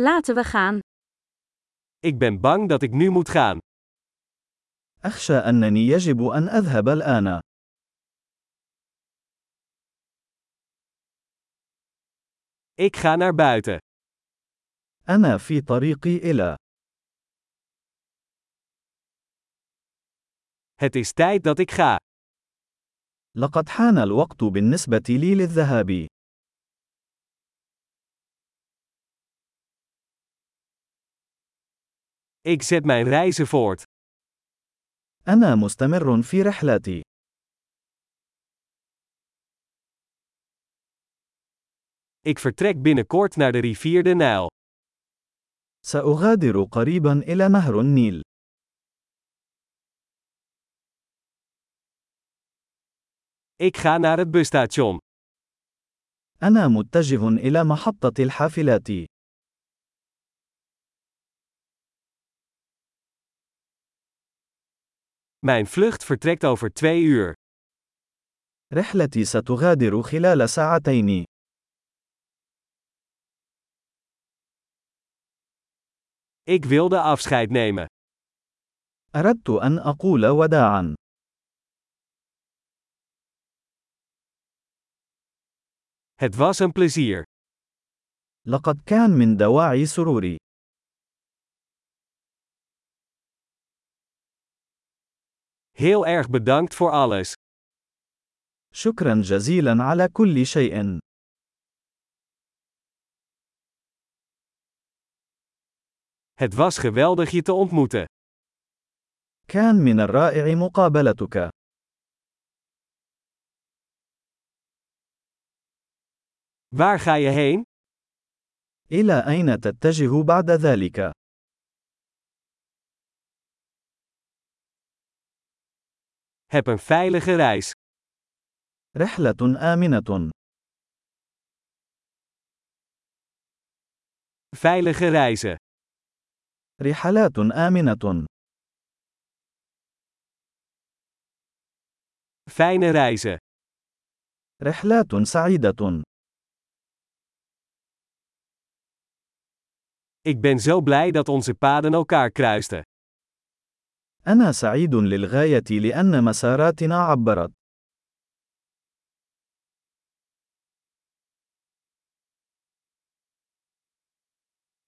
Laten we gaan. Ik ben bang dat ik nu moet gaan. أخشى أنني يجب أن أذهب الآن. Ik ga naar buiten. أنا في طريقي إلى. Het is tijd dat ik ga. لقد حان الوقت بالنسبة لي للذهاب. Ik zet mijn reizen voort. أنا مستمر في رحلتي. Ik vertrek binnenkort naar de rivier de Nijl. سأغادر قريبا إلى نهر النيل. Ik ga naar het busstation. أنا متجه إلى محطة الحافلات. Mijn vlucht vertrekt over twee uur. رحلتي ستغادر خلال ساعتين. Ik wilde afscheid nemen. أردت أن أقول وداعا. Het was een plezier. لقد كان من دواعي سروري. Heel erg bedankt voor alles. شكرا جزيلا على كل شيء. Het was geweldig je te ontmoeten. كان من الرائع مقابلتك. Waar ga je heen? إلى أين تتجه بعد ذلك؟ Heb een veilige reis. رحلة آمنة. Veilige reizen. رحلات آمنة. Fijne reizen. رحلات سعيدة. Ik ben zo blij dat onze paden elkaar kruisten. أنا سعيد للغاية لأن مساراتنا عبرت.